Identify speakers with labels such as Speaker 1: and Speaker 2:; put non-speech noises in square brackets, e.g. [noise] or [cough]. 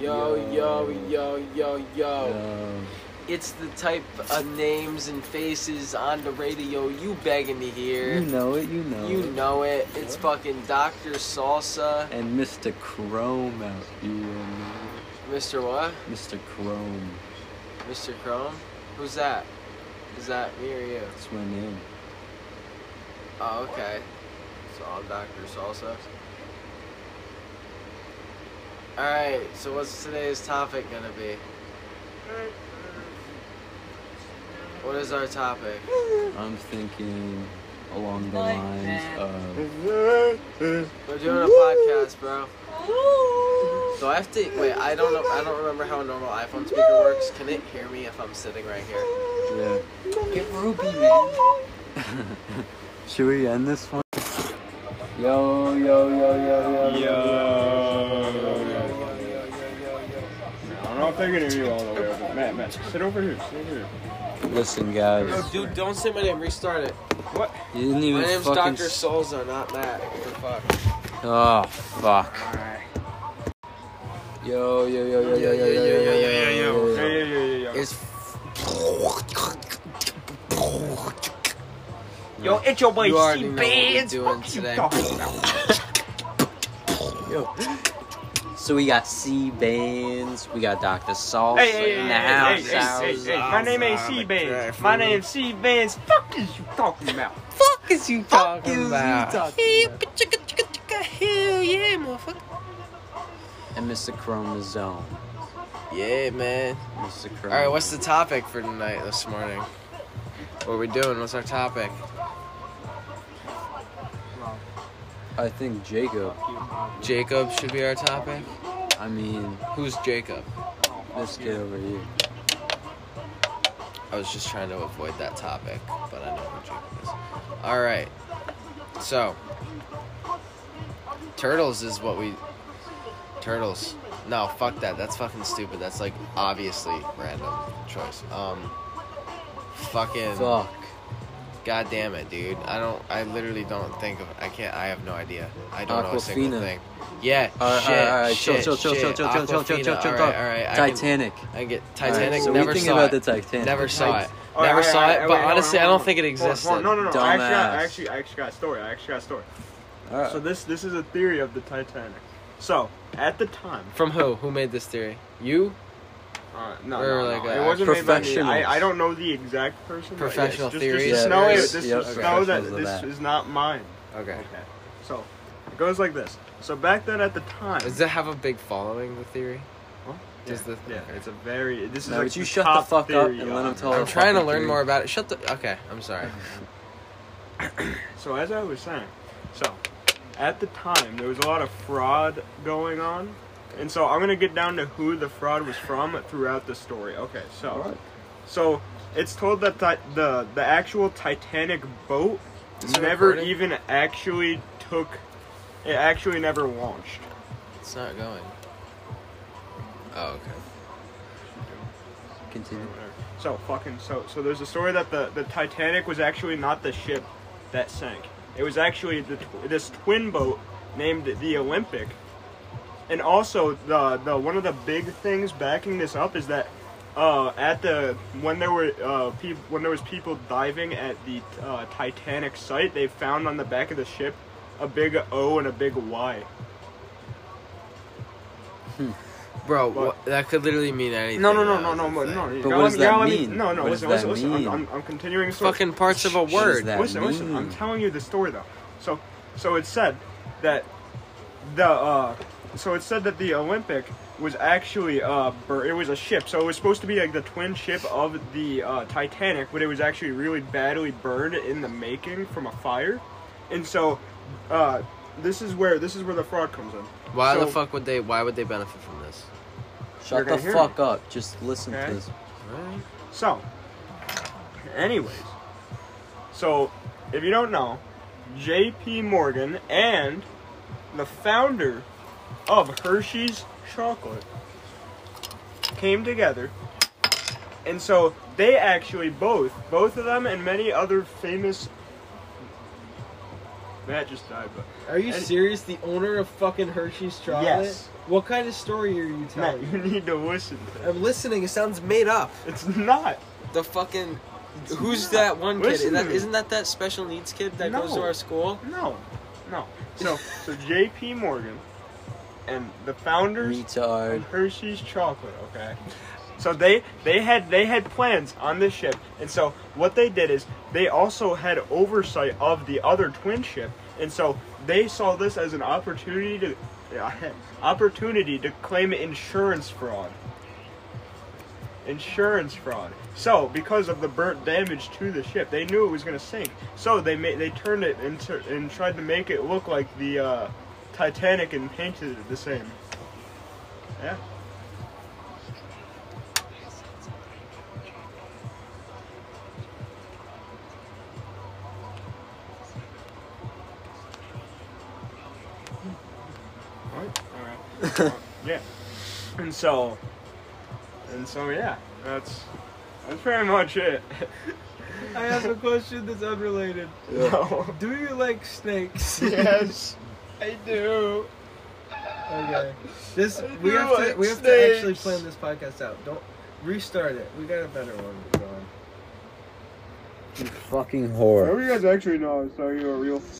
Speaker 1: Yo, yo, yo, yo,
Speaker 2: Oh,
Speaker 1: yo.
Speaker 3: Yo.
Speaker 1: It's the type of names and faces on the radio you begging to
Speaker 3: You
Speaker 1: hear.
Speaker 3: know it, you know
Speaker 1: You
Speaker 3: it.
Speaker 1: know it. It's fucking Dr. Salsa.
Speaker 3: And Mr. Chrome out here.
Speaker 1: Mr. What?
Speaker 3: Mr. Chrome.
Speaker 1: Mr. Chrome? Who's that? Is that me or you?
Speaker 3: That's my name.
Speaker 1: Oh, okay. So I'm Dr. Salsa. Alright, so what's today's topic gonna be? What is our topic?
Speaker 3: I'm thinking along the
Speaker 2: Like
Speaker 3: lines
Speaker 2: that.
Speaker 3: of.
Speaker 1: We're doing a podcast, bro. So I have to wait. I don't know. I don't remember how a normal iPhone speaker works. Can it hear me if I'm sitting right here?
Speaker 3: Yeah.
Speaker 2: Get Ruby, man.
Speaker 3: [laughs] Should we end this one? Yo, yo, yo, yo, yo.
Speaker 4: Yo. I don't know if they're gonna hear you all the way over. Matt, Matt, sit over here. Sit over here.
Speaker 3: Listen, guys.
Speaker 1: Dude, don't say my name. Restart it.
Speaker 4: What?
Speaker 3: You didn't even
Speaker 1: My name's
Speaker 3: fucking.
Speaker 1: Dr. Solzo, not Matt. What the fuck?
Speaker 3: oh, fuck. Yo, yo, yo, yo, yo, yo, yo, yo, yo, yo, yo,
Speaker 4: Yeah, yeah, yeah, yeah, yeah.
Speaker 1: It's
Speaker 4: Yo, it's your boy,
Speaker 1: you already know what we're doing today.
Speaker 3: So we got C Bands, we got Dr. Salsa
Speaker 4: Hey, hey,
Speaker 3: in
Speaker 4: hey,
Speaker 3: the
Speaker 4: hey, hey,
Speaker 3: house.
Speaker 4: hey, hey, hey, my name ain't C Bands. My name's C Bands. Fuck is you talking about?
Speaker 3: fuck is you talking
Speaker 1: about?
Speaker 3: And Mr. Chromosome.
Speaker 1: Yeah, man.
Speaker 3: Mr. Chromosome.
Speaker 1: All right, what's the topic for tonight? This morning. What are we doing? What's our topic?
Speaker 3: I think Jacob.
Speaker 1: Jacob should be our topic.
Speaker 3: I mean,
Speaker 1: Who's Jacob?
Speaker 3: this kid over here.
Speaker 1: I was just trying to avoid that topic, but I know who Jacob is. All right. So, turtles is what we. Turtles. No, fuck that. That's fucking stupid. That's like obviously random choice. Um. Fucking.
Speaker 3: Fuck.
Speaker 1: God damn it, dude. I don't. I literally don't think of. I can't. I have no idea. I don't know a single
Speaker 3: Aquafina.
Speaker 1: thing. Yeah.
Speaker 3: Alright,
Speaker 1: shit.
Speaker 3: alright, alright, chill,
Speaker 1: shit,
Speaker 3: chill, chill,
Speaker 1: shit.
Speaker 3: chill, chill, chill, chill, chill,
Speaker 1: Aquafina.
Speaker 3: chill, chill,
Speaker 1: Alright,
Speaker 3: chill.
Speaker 1: alright, I can-
Speaker 3: Titanic.
Speaker 1: I can get
Speaker 3: Alright,
Speaker 1: Titanic.
Speaker 3: so we
Speaker 1: never
Speaker 3: think
Speaker 1: saw
Speaker 3: about
Speaker 1: it.
Speaker 3: the Titanic.
Speaker 1: Never saw it.
Speaker 4: Oh,
Speaker 1: Never
Speaker 4: hey,
Speaker 1: saw
Speaker 4: hey,
Speaker 1: it.
Speaker 4: hey,
Speaker 1: But
Speaker 4: wait, hold on,
Speaker 1: honestly, I
Speaker 4: hold on,
Speaker 1: don't think it
Speaker 4: hold on,
Speaker 1: existed.
Speaker 4: hold on. No, no, no. I actually, got,
Speaker 3: Dumbass.
Speaker 4: I actually, I actually got a story. I actually got a story.
Speaker 3: Alright.
Speaker 4: So this, this is a theory of the Titanic. So at the time,
Speaker 1: From who? Who made this theory? You?
Speaker 4: uh, no,
Speaker 1: Or
Speaker 4: no,
Speaker 1: like
Speaker 4: no,
Speaker 1: a-
Speaker 4: it wasn't made by me.
Speaker 3: Professionals.
Speaker 4: I, I don't know the exact person. but yes,
Speaker 1: Professional
Speaker 4: just,
Speaker 1: theories.
Speaker 4: Just
Speaker 1: Yeah,
Speaker 4: know,
Speaker 1: there's-
Speaker 4: it, just,
Speaker 3: yep,
Speaker 4: just know that
Speaker 3: professionals of
Speaker 4: this
Speaker 3: that.
Speaker 4: is not mine.
Speaker 1: Okay.
Speaker 4: Okay. So it goes like this. So back then at the time,
Speaker 1: Does it have a big following, the theory?
Speaker 4: yeah,
Speaker 1: Does the-
Speaker 4: yeah, it's a very. This is
Speaker 3: Now,
Speaker 4: like
Speaker 3: would you
Speaker 4: the
Speaker 3: shut the
Speaker 4: top
Speaker 3: fuck up
Speaker 4: theory
Speaker 3: and let
Speaker 4: on
Speaker 3: him
Speaker 4: it.
Speaker 3: tell Oh,
Speaker 1: I'm trying to
Speaker 3: fucking
Speaker 1: learn
Speaker 3: theory.
Speaker 1: more about it. Shut the. Okay, I'm sorry.
Speaker 4: So as I was saying, so at the time there was a lot of fraud going on, and so I'm gonna get down to who the fraud was from throughout the story. Okay, so
Speaker 3: Alright.
Speaker 4: so it's told that ti- the the actual Titanic boat
Speaker 1: Is it
Speaker 4: never
Speaker 1: recording?
Speaker 4: even actually took. It actually never launched.
Speaker 1: It's not going. Oh, okay.
Speaker 3: Continue.
Speaker 4: So fucking so so there's a story that the the Titanic was actually not the ship that sank. It was actually the tw- this twin boat named the Olympic. And also the the one of the big things backing this up is that uh, at the when there were uh, peop when there was people diving at the uh, Titanic site, they found on the back of the ship a big O and a big Y.
Speaker 1: Bro,
Speaker 4: What?
Speaker 1: what? that could literally mean anything.
Speaker 4: No, no, no,
Speaker 1: though,
Speaker 4: no, no, no,
Speaker 1: is the
Speaker 4: no.
Speaker 1: thing.
Speaker 3: But
Speaker 4: y'all
Speaker 3: what does
Speaker 4: let me- y'all
Speaker 3: that
Speaker 4: let me-
Speaker 3: mean?
Speaker 4: No, no,
Speaker 3: What does
Speaker 4: listen,
Speaker 3: that
Speaker 4: listen, I'm-
Speaker 3: mean?
Speaker 4: I'm, I'm continuing. the story.
Speaker 1: Fucking parts of a
Speaker 3: What does
Speaker 1: word.
Speaker 3: that
Speaker 4: listen, listen. I'm
Speaker 3: mean?
Speaker 4: telling you the story though. So, so it said that the uh, so it said that the Olympic was actually uh, bur- it was a ship. So it was supposed to be like the twin ship of the uh, Titanic, but it was actually really badly burned in the making from a fire, and so uh, this is where this is where the fraud comes in.
Speaker 1: Why the
Speaker 4: So-
Speaker 1: fuck would they? Why would they benefit from this?
Speaker 4: You're
Speaker 3: Shut the
Speaker 4: gonna hear
Speaker 3: fuck up. Just listen
Speaker 4: Okay.
Speaker 3: to this.
Speaker 4: So, anyways, so if you don't know, J.P. Morgan and the founder of Hershey's chocolate came together, and so they actually both, both of them, and many other famous Matt just died, but
Speaker 5: Are you
Speaker 4: And-
Speaker 5: serious? The owner of fucking Hershey's chocolate?
Speaker 4: Yes.
Speaker 5: What kind of story are you
Speaker 4: Matt,
Speaker 5: telling?
Speaker 4: you need to listen. To
Speaker 1: I'm listening. It sounds made up.
Speaker 4: It's not.
Speaker 1: The fucking. Who's that one kid?
Speaker 4: Listen
Speaker 1: Is
Speaker 4: to
Speaker 1: that,
Speaker 4: me.
Speaker 1: isn't that that special needs kid that goes to
Speaker 4: No.
Speaker 1: our school?
Speaker 4: No, no. So, so J.P. Morgan and the founders
Speaker 3: Retard.
Speaker 4: of Hershey's chocolate. Okay. So they they had they had plans on this ship, and so what they did is they also had oversight of the other twin ship, and so they saw this as an opportunity to [laughs] yeah, opportunity to claim insurance fraud. Insurance fraud. So because of the burnt damage to the ship, they knew it was going to sink. So they made they turned it into and tried to make it look like the uh, Titanic and painted it the same. Yeah. Alright, alright. Uh, yeah. And so and so yeah, that's that's pretty much it.
Speaker 5: I have a question that's unrelated.
Speaker 4: [laughs] No.
Speaker 5: Do you like [laughs] snakes?
Speaker 4: yes. I do.
Speaker 5: Okay. This
Speaker 4: I
Speaker 5: we
Speaker 4: do
Speaker 5: have to
Speaker 4: like
Speaker 5: we have to actually
Speaker 4: snakes.
Speaker 5: plan this podcast out. Don't restart it. We got a better one going.
Speaker 3: You fucking whore.
Speaker 4: you guys actually know I was talking to a real